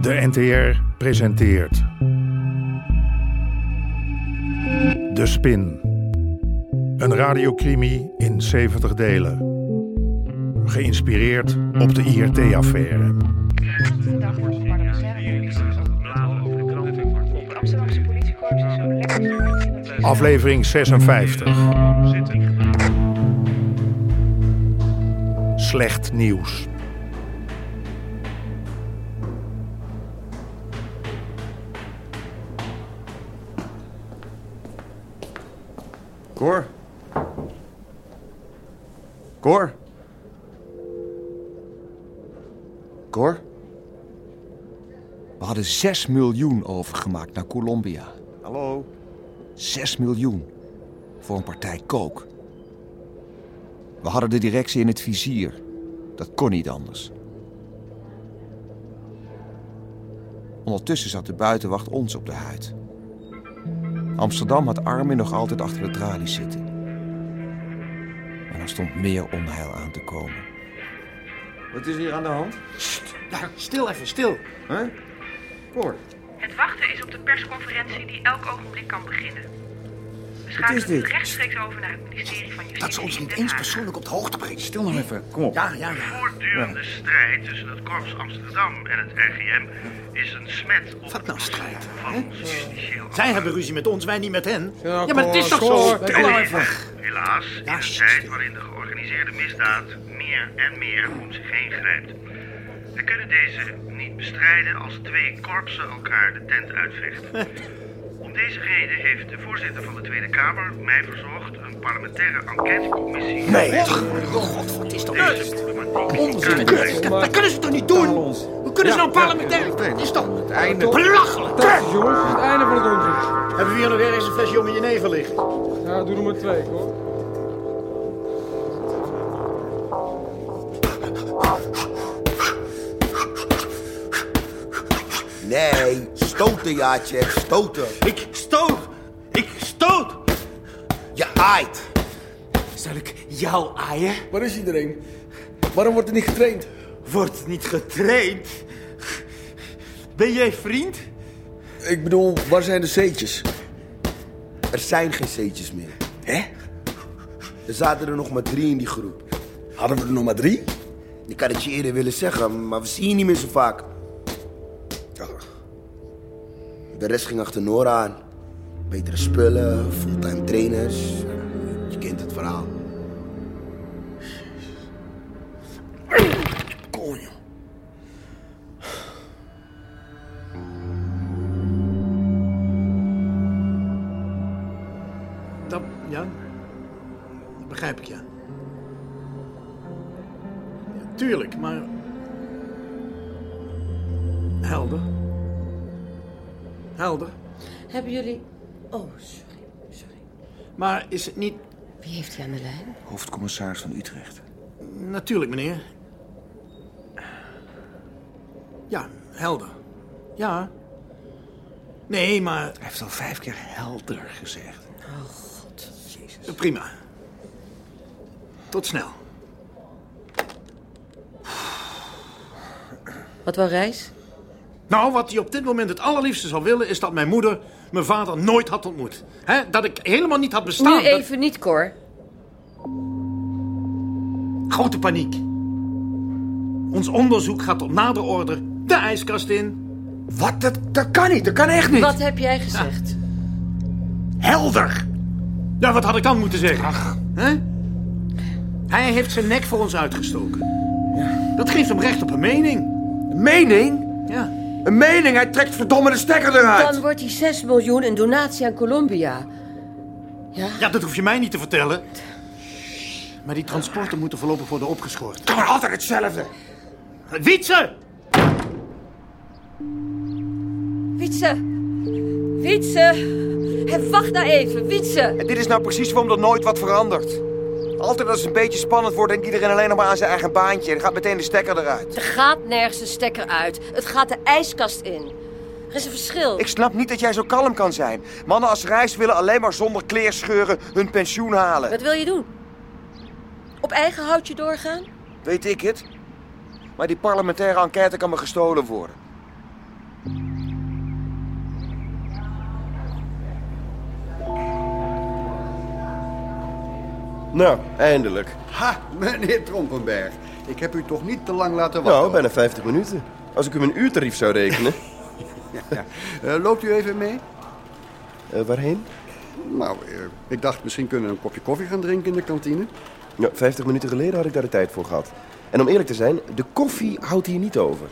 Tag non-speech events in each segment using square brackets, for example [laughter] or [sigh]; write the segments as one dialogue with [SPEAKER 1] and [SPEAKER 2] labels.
[SPEAKER 1] De NTR presenteert. De Spin. Een radiocrimi in 70 delen. Geïnspireerd op de IRT-affaire.
[SPEAKER 2] Dag wordt het maar De Amsterdamse politiekorps is zo lekker.
[SPEAKER 1] Aflevering 56. Slecht nieuws.
[SPEAKER 3] Cor? Cor? Cor?
[SPEAKER 4] We hadden 6 miljoen overgemaakt naar Colombia.
[SPEAKER 3] Hallo?
[SPEAKER 4] 6 miljoen. Voor een partij kook. We hadden de directie in het vizier. Dat kon niet anders. Ondertussen zat de buitenwacht ons op de huid. Amsterdam had Armin nog altijd achter de tralies zitten. En er stond meer onheil aan te komen.
[SPEAKER 3] Wat is hier aan de hand?
[SPEAKER 5] Stil even, stil.
[SPEAKER 3] Hè? Cor,
[SPEAKER 2] Het wachten is op de persconferentie die elk ogenblik kan beginnen. We
[SPEAKER 3] is
[SPEAKER 2] schakelen
[SPEAKER 3] dit?
[SPEAKER 2] het rechtstreeks over naar het ministerie van Justitie.
[SPEAKER 5] Dat ze ons
[SPEAKER 2] in
[SPEAKER 5] niet
[SPEAKER 2] Den
[SPEAKER 5] eens
[SPEAKER 2] Haag.
[SPEAKER 5] persoonlijk op de hoogte brengen. Stil
[SPEAKER 3] nog even, kom op.
[SPEAKER 5] Ja, ja, ja.
[SPEAKER 6] voortdurende strijd tussen het Korps Amsterdam en het RGM is een smet op
[SPEAKER 5] Wat nou
[SPEAKER 6] het
[SPEAKER 5] strijd,
[SPEAKER 6] bestaan van ons justitieel
[SPEAKER 5] Zij hebben ruzie met ons, wij niet met hen. Ja, maar het is toch zo? Stil nou even.
[SPEAKER 6] Helaas, in
[SPEAKER 5] Ja,
[SPEAKER 6] een
[SPEAKER 5] shit.
[SPEAKER 6] tijd waarin de georganiseerde misdaad meer en meer om zich heen grijpt. We kunnen deze niet bestrijden als twee korpsen elkaar de tent
[SPEAKER 5] [laughs]
[SPEAKER 6] uitvechten. Om deze reden heeft de voorzitter van de Tweede Kamer mij verzocht een parlementaire enquêtecommissie...
[SPEAKER 5] Nee. God, wat is toch
[SPEAKER 6] Deze
[SPEAKER 5] Oh, dat?
[SPEAKER 6] problematiek in kaart
[SPEAKER 5] Onzin.
[SPEAKER 6] te brengen.
[SPEAKER 5] Dat dat kunnen ze toch niet doen? Hoe kunnen ze nou parlementair? Dat is toch belachelijk?
[SPEAKER 7] Jongens, het is het einde van het onderzoek.
[SPEAKER 5] Hebben we hier nog ergens een flesje jonge jenever liggen?
[SPEAKER 7] Ja, doe er maar twee, hoor.
[SPEAKER 8] Nee, stoten, Jaatje, stoten.
[SPEAKER 9] Ik stoot! Ik stoot!
[SPEAKER 8] Je aait.
[SPEAKER 9] Zal ik jou aaien?
[SPEAKER 7] Waar is iedereen? Waarom wordt er niet getraind?
[SPEAKER 9] Wordt niet getraind? Ben jij vriend?
[SPEAKER 7] Ik bedoel, waar zijn de C'tjes?
[SPEAKER 8] Er zijn geen C'tjes meer. Hè? Er zaten er nog maar drie in die groep.
[SPEAKER 7] Hadden we er nog maar drie?
[SPEAKER 8] Ik had het je eerder willen zeggen, maar we zien je niet meer zo vaak. De rest ging achter Nora aan. Betere spullen, fulltime trainers. Je kent het verhaal.
[SPEAKER 5] Dat, ja. Dat begrijp ik, ja. Ja, Tuurlijk, maar... Helder. Helder.
[SPEAKER 10] Hebben jullie... Oh, sorry, sorry.
[SPEAKER 5] Maar is het niet...
[SPEAKER 10] Wie heeft hij aan de lijn?
[SPEAKER 4] Hoofdcommissaris van Utrecht.
[SPEAKER 5] Natuurlijk, meneer. Ja, helder. Ja. Nee, maar
[SPEAKER 4] Hij heeft al vijf keer helder gezegd.
[SPEAKER 5] prima. Tot snel.
[SPEAKER 10] Wat wel reis?
[SPEAKER 5] Nou, wat hij op dit moment het allerliefste zou willen... is dat mijn moeder mijn vader nooit had ontmoet. Hè? Dat ik helemaal niet had bestaan.
[SPEAKER 10] nu
[SPEAKER 5] Dat-
[SPEAKER 10] even niet, Cor.
[SPEAKER 5] Grote paniek. Ons onderzoek gaat tot nader order de ijskast in.
[SPEAKER 7] Wat? Dat, dat kan niet, dat kan echt niet.
[SPEAKER 10] Wat heb jij gezegd?
[SPEAKER 5] Helder. Ja, wat had ik dan moeten zeggen? Hè? Hij heeft zijn nek voor ons uitgestoken. Dat geeft hem recht op een mening.
[SPEAKER 7] Een mening?
[SPEAKER 5] Ja.
[SPEAKER 7] Een mening? Hij trekt verdomme de stekker eruit.
[SPEAKER 10] Ah. Dan wordt die 6 miljoen een donatie aan Colombia. Ja?
[SPEAKER 5] ja, dat hoef je mij niet te vertellen. Maar die transporten moeten voorlopig worden opgeschort.
[SPEAKER 7] Kan maar altijd hetzelfde.
[SPEAKER 5] Wietse!
[SPEAKER 10] Wietse! Wietse! Hé, wacht nou even, Wietse!
[SPEAKER 4] En dit is nou precies waarom er nooit wat verandert. Altijd als het een beetje spannend wordt, denkt iedereen alleen nog maar aan zijn eigen baantje. Dan gaat meteen de stekker eruit.
[SPEAKER 10] Er gaat nergens een stekker uit. Het gaat de ijskast in. Er is een verschil.
[SPEAKER 4] Ik snap niet dat jij zo kalm kan zijn. Mannen als reis willen alleen maar zonder kleerscheuren hun pensioen halen.
[SPEAKER 10] Wat wil je doen? Op eigen houtje doorgaan?
[SPEAKER 4] Weet ik het? Maar die parlementaire enquête kan me gestolen worden. Nou, eindelijk.
[SPEAKER 8] Ha, meneer Trompenberg. Ik heb u toch niet te lang laten wachten.
[SPEAKER 4] Nou, bijna 50 minuten. Als ik u mijn uurtarief zou rekenen.
[SPEAKER 8] [laughs] Ja. Eh, loopt u even mee?
[SPEAKER 4] Eh, waarheen?
[SPEAKER 8] Nou, eh, ik dacht misschien kunnen we een kopje koffie gaan drinken in de kantine.
[SPEAKER 4] Ja, 50 minuten geleden had ik daar de tijd voor gehad. En om eerlijk te zijn, de koffie houdt hier niet over.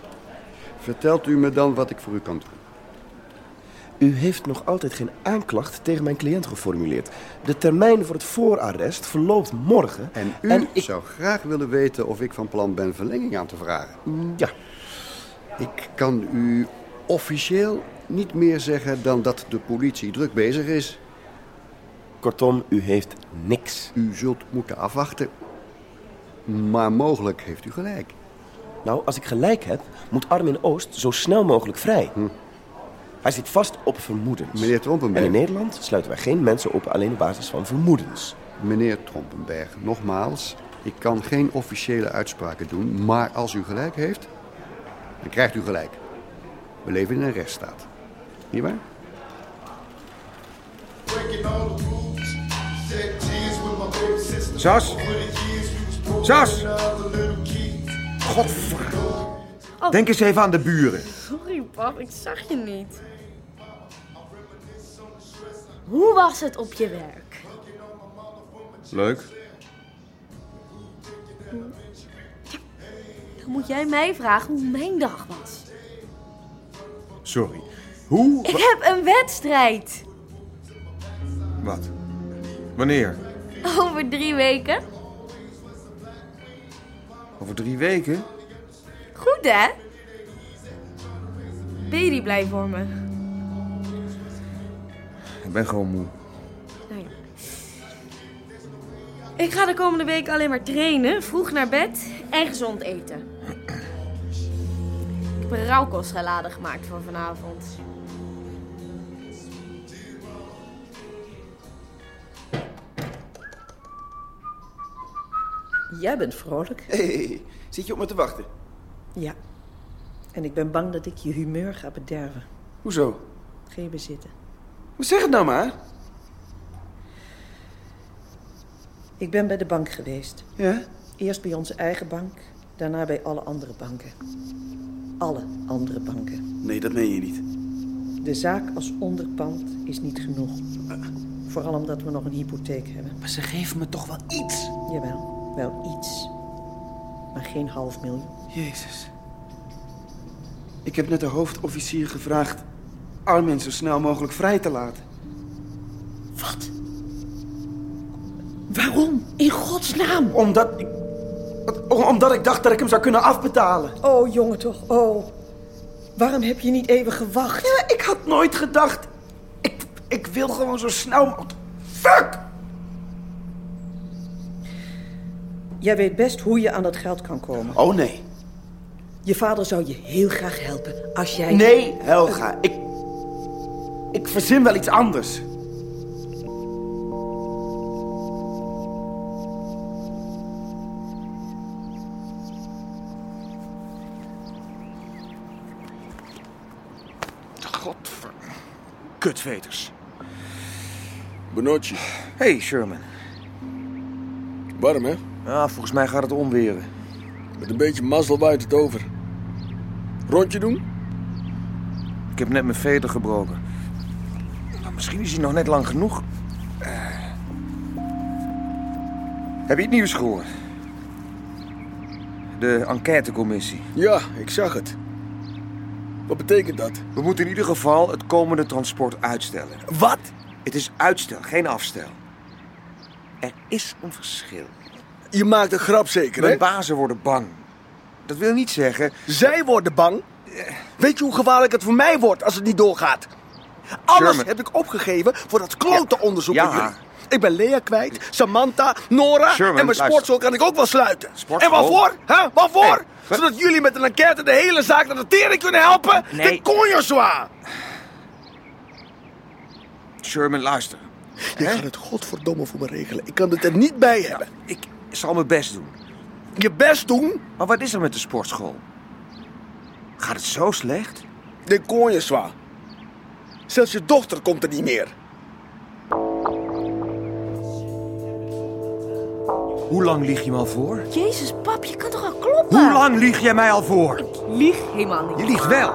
[SPEAKER 8] Vertelt u me dan wat ik voor u kan doen?
[SPEAKER 4] U heeft nog altijd geen aanklacht tegen mijn cliënt geformuleerd. De termijn voor het voorarrest verloopt morgen.
[SPEAKER 8] En u zou graag willen weten of ik van plan ben verlenging aan te vragen.
[SPEAKER 4] Ja.
[SPEAKER 8] Ik kan u officieel niet meer zeggen dan dat de politie druk bezig is.
[SPEAKER 4] Kortom, u heeft niks.
[SPEAKER 8] U zult moeten afwachten. Maar mogelijk heeft u gelijk.
[SPEAKER 4] Nou, als ik gelijk heb, moet Armin Oost zo snel mogelijk vrij. Hij zit vast op vermoedens. Meneer
[SPEAKER 8] Hm. Trompenberg.
[SPEAKER 4] En in Nederland sluiten wij geen mensen op alleen op basis van vermoedens.
[SPEAKER 8] Meneer Trompenberg, nogmaals, ik kan geen officiële uitspraken doen, maar als u gelijk heeft, dan krijgt u gelijk. We leven in een rechtsstaat. Niet waar?
[SPEAKER 11] Sas? Sas? Godver...
[SPEAKER 10] Oh.
[SPEAKER 11] Denk eens even aan de buren.
[SPEAKER 10] Sorry, pap, ik zag je niet. Hoe was het op je werk?
[SPEAKER 4] Leuk.
[SPEAKER 10] Dan moet jij mij vragen hoe mijn dag was.
[SPEAKER 8] Sorry. Hoe?
[SPEAKER 10] Ik heb een wedstrijd.
[SPEAKER 12] Wat? Wanneer?
[SPEAKER 10] Over drie weken.
[SPEAKER 12] Over drie weken?
[SPEAKER 10] Goed, hè? Ben je die blij voor me?
[SPEAKER 12] Ik ben gewoon moe.
[SPEAKER 10] Nou ja. Ik ga de komende week alleen maar trainen, vroeg naar bed en gezond eten. Ik heb een rauwkostsalade gemaakt voor vanavond.
[SPEAKER 13] Jij bent vrolijk.
[SPEAKER 4] hey, zit je op me te wachten?
[SPEAKER 13] Ja. En ik ben bang dat ik je humeur ga bederven.
[SPEAKER 4] Hoezo?
[SPEAKER 13] Ga je bezitten.
[SPEAKER 4] Hoe zeg het nou maar?
[SPEAKER 13] Ik ben bij de bank geweest.
[SPEAKER 4] Ja?
[SPEAKER 13] Eerst bij onze eigen bank, daarna bij alle andere banken. Alle andere banken.
[SPEAKER 4] Nee, dat meen je niet.
[SPEAKER 13] De zaak als onderpand is niet genoeg. Vooral omdat we nog een hypotheek hebben. Maar ze geven me toch wel iets? Jawel, wel iets. Maar geen half miljoen.
[SPEAKER 4] Jezus.
[SPEAKER 5] Ik heb net de hoofdofficier gevraagd Armin zo snel mogelijk vrij te laten.
[SPEAKER 13] Wat? Waarom? In godsnaam?
[SPEAKER 5] Omdat ik... om- Omdat ik dacht dat ik hem zou kunnen afbetalen.
[SPEAKER 13] Oh, jongen toch, oh. Waarom heb je niet even gewacht?
[SPEAKER 5] Ja, ik had nooit gedacht. Ik, ik wil gewoon zo snel mogelijk... Fuck!
[SPEAKER 13] Jij weet best hoe je aan dat geld kan komen.
[SPEAKER 5] Oh nee.
[SPEAKER 13] Je vader zou je heel graag helpen als jij...
[SPEAKER 5] Nee, Helga. Ik... Ik verzin wel iets anders.
[SPEAKER 14] Godver... Kutveters.
[SPEAKER 15] Benotje.
[SPEAKER 16] Hey, Sherman.
[SPEAKER 15] Warm, hè?
[SPEAKER 16] Ah, volgens mij gaat het onweren.
[SPEAKER 15] Met een beetje mazzel waait het over. Rondje doen?
[SPEAKER 16] Ik heb net mijn veter gebroken. Maar misschien is hij nog net lang genoeg. Eh. Heb je het nieuws gehoord? De enquêtecommissie.
[SPEAKER 15] Ja, ik zag het. Wat betekent dat?
[SPEAKER 16] We moeten in ieder geval het komende transport uitstellen. Wat? Het is uitstel, geen afstel. Er is een verschil.
[SPEAKER 15] Je maakt een grap zeker, hè?
[SPEAKER 16] Mijn bazen worden bang. Dat wil niet zeggen...
[SPEAKER 5] Zij worden bang. Weet je hoe gevaarlijk het voor mij wordt als het niet doorgaat? Alles
[SPEAKER 16] Sherman.
[SPEAKER 5] heb ik opgeven voor dat klote onderzoek
[SPEAKER 16] Ja.
[SPEAKER 5] met jullie. Ik ben Lea kwijt, Samantha, Nora
[SPEAKER 16] Sherman,
[SPEAKER 5] en mijn
[SPEAKER 16] luister.
[SPEAKER 5] sportschool kan ik ook wel sluiten.
[SPEAKER 16] Sportschool?
[SPEAKER 5] En waarvoor? Huh? Waarvoor?
[SPEAKER 16] wa-
[SPEAKER 5] Zodat jullie met een enquête de hele zaak naar de tering kunnen helpen?
[SPEAKER 16] Nee.
[SPEAKER 5] De conjozoa!
[SPEAKER 16] Sherman, luister.
[SPEAKER 5] Je gaat het godverdomme voor me regelen. Ik kan het er niet bij hebben.
[SPEAKER 16] Ik zal mijn best doen.
[SPEAKER 5] Je best doen?
[SPEAKER 16] Maar wat is er met de sportschool? Gaat het zo slecht?
[SPEAKER 5] De conjozoa. Zelfs je dochter komt er niet meer.
[SPEAKER 17] Hoe lang lieg je me al voor?
[SPEAKER 10] Jezus, pap, je kan toch al kloppen?
[SPEAKER 17] Hoe lang lieg jij mij al voor?
[SPEAKER 10] Lieg helemaal niet.
[SPEAKER 17] Je liegt wel.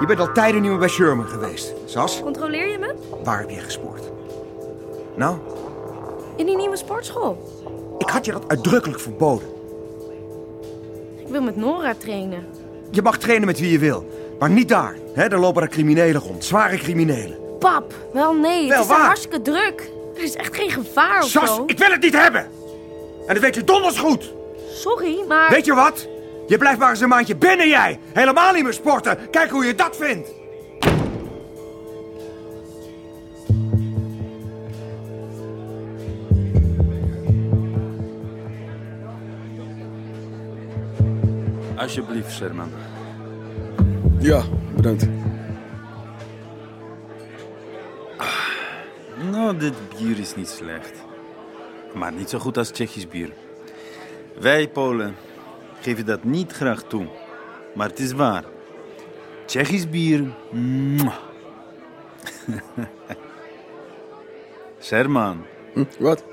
[SPEAKER 17] Je bent al tijden niet meer bij Sherman geweest. Sas,
[SPEAKER 10] Controleer je me?
[SPEAKER 17] waar heb jij gespoord? Nou,
[SPEAKER 10] In die nieuwe sportschool.
[SPEAKER 17] ik had je dat uitdrukkelijk verboden.
[SPEAKER 10] Ik wil met Nora trainen.
[SPEAKER 17] Je mag trainen met wie je wil, maar niet daar. Hè, daar lopen er criminelen rond, zware criminelen.
[SPEAKER 10] Pap, wel nee.
[SPEAKER 17] Wel
[SPEAKER 10] het is daar
[SPEAKER 17] waar.
[SPEAKER 10] hartstikke druk. Er is echt geen gevaar of
[SPEAKER 17] Sas,
[SPEAKER 10] Nou, zo.
[SPEAKER 17] ik wil het niet hebben! En dat weet je donders goed!
[SPEAKER 10] Sorry, maar...
[SPEAKER 17] Weet je wat? Je blijft maar eens een maandje binnen, jij! Helemaal niet meer sporten! Kijk hoe je dat vindt!
[SPEAKER 4] Alsjeblieft, Sherman.
[SPEAKER 8] Ja, bedankt.
[SPEAKER 4] Nou, dit bier is niet slecht. Maar niet zo goed als Tsjechisch bier. Wij Polen geven dat niet graag toe. Maar het is waar. Tsjechisch bier. mwah. Sherman.
[SPEAKER 8] Wat?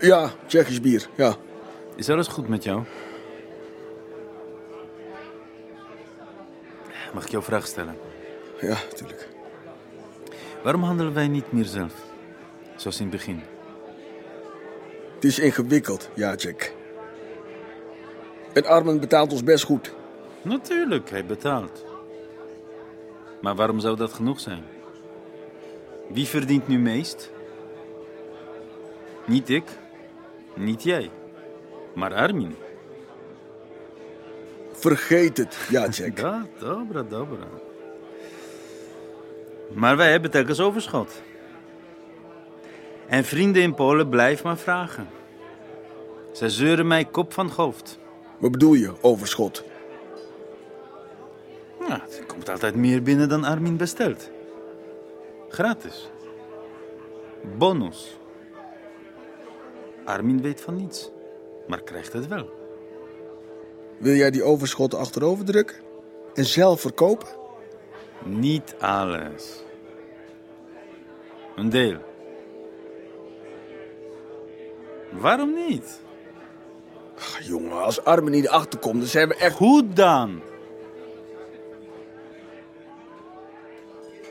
[SPEAKER 8] Ja, Tsjechisch bier, ja.
[SPEAKER 4] Is alles goed met jou? Mag ik jou een vraag stellen?
[SPEAKER 8] Ja, natuurlijk.
[SPEAKER 4] Waarom handelen wij niet meer zelf? Zoals in het begin.
[SPEAKER 8] Het is ingewikkeld, ja, Jack. En Armen betaalt ons best goed.
[SPEAKER 4] Natuurlijk, hij betaalt. Maar waarom zou dat genoeg zijn? Wie verdient nu meest? Niet ik, niet jij, maar Armin.
[SPEAKER 8] Vergeet het,
[SPEAKER 4] [laughs]
[SPEAKER 8] ja, Jack.
[SPEAKER 4] Ja, dobra, dobra. Maar wij hebben telkens overschot. En vrienden in Polen blijven maar vragen. Zij zeuren mij kop van het hoofd.
[SPEAKER 8] Wat bedoel je, overschot?
[SPEAKER 4] Ja, er Nou, komt altijd meer binnen dan Armin bestelt. Gratis. Bonus. Armin weet van niets, maar krijgt het wel.
[SPEAKER 8] Wil jij die overschotten achterover drukken? En zelf verkopen?
[SPEAKER 4] Niet alles. Een deel. Waarom niet?
[SPEAKER 8] Ach, jongen, als Armen niet achterkomt, dan zijn we echt...
[SPEAKER 4] Goed dan!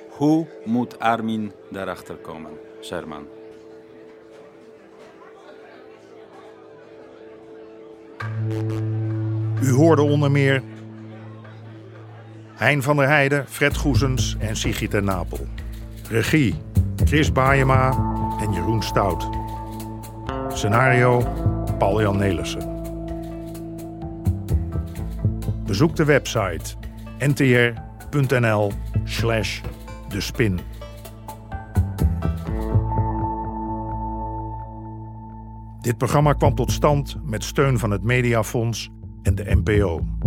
[SPEAKER 4] Hoe moet Armin daarachter komen, Sherman?
[SPEAKER 1] U hoorde onder meer Hein van der Heijden, Fred Goesens en Sigrid ten Napel. Regie Chris Baayema en Jeroen Stout. Scenario Paul-Jan Nelissen. Bezoek de website ntr.nl slash de spin. Dit programma kwam tot stand met steun van het Mediafonds en de NPO.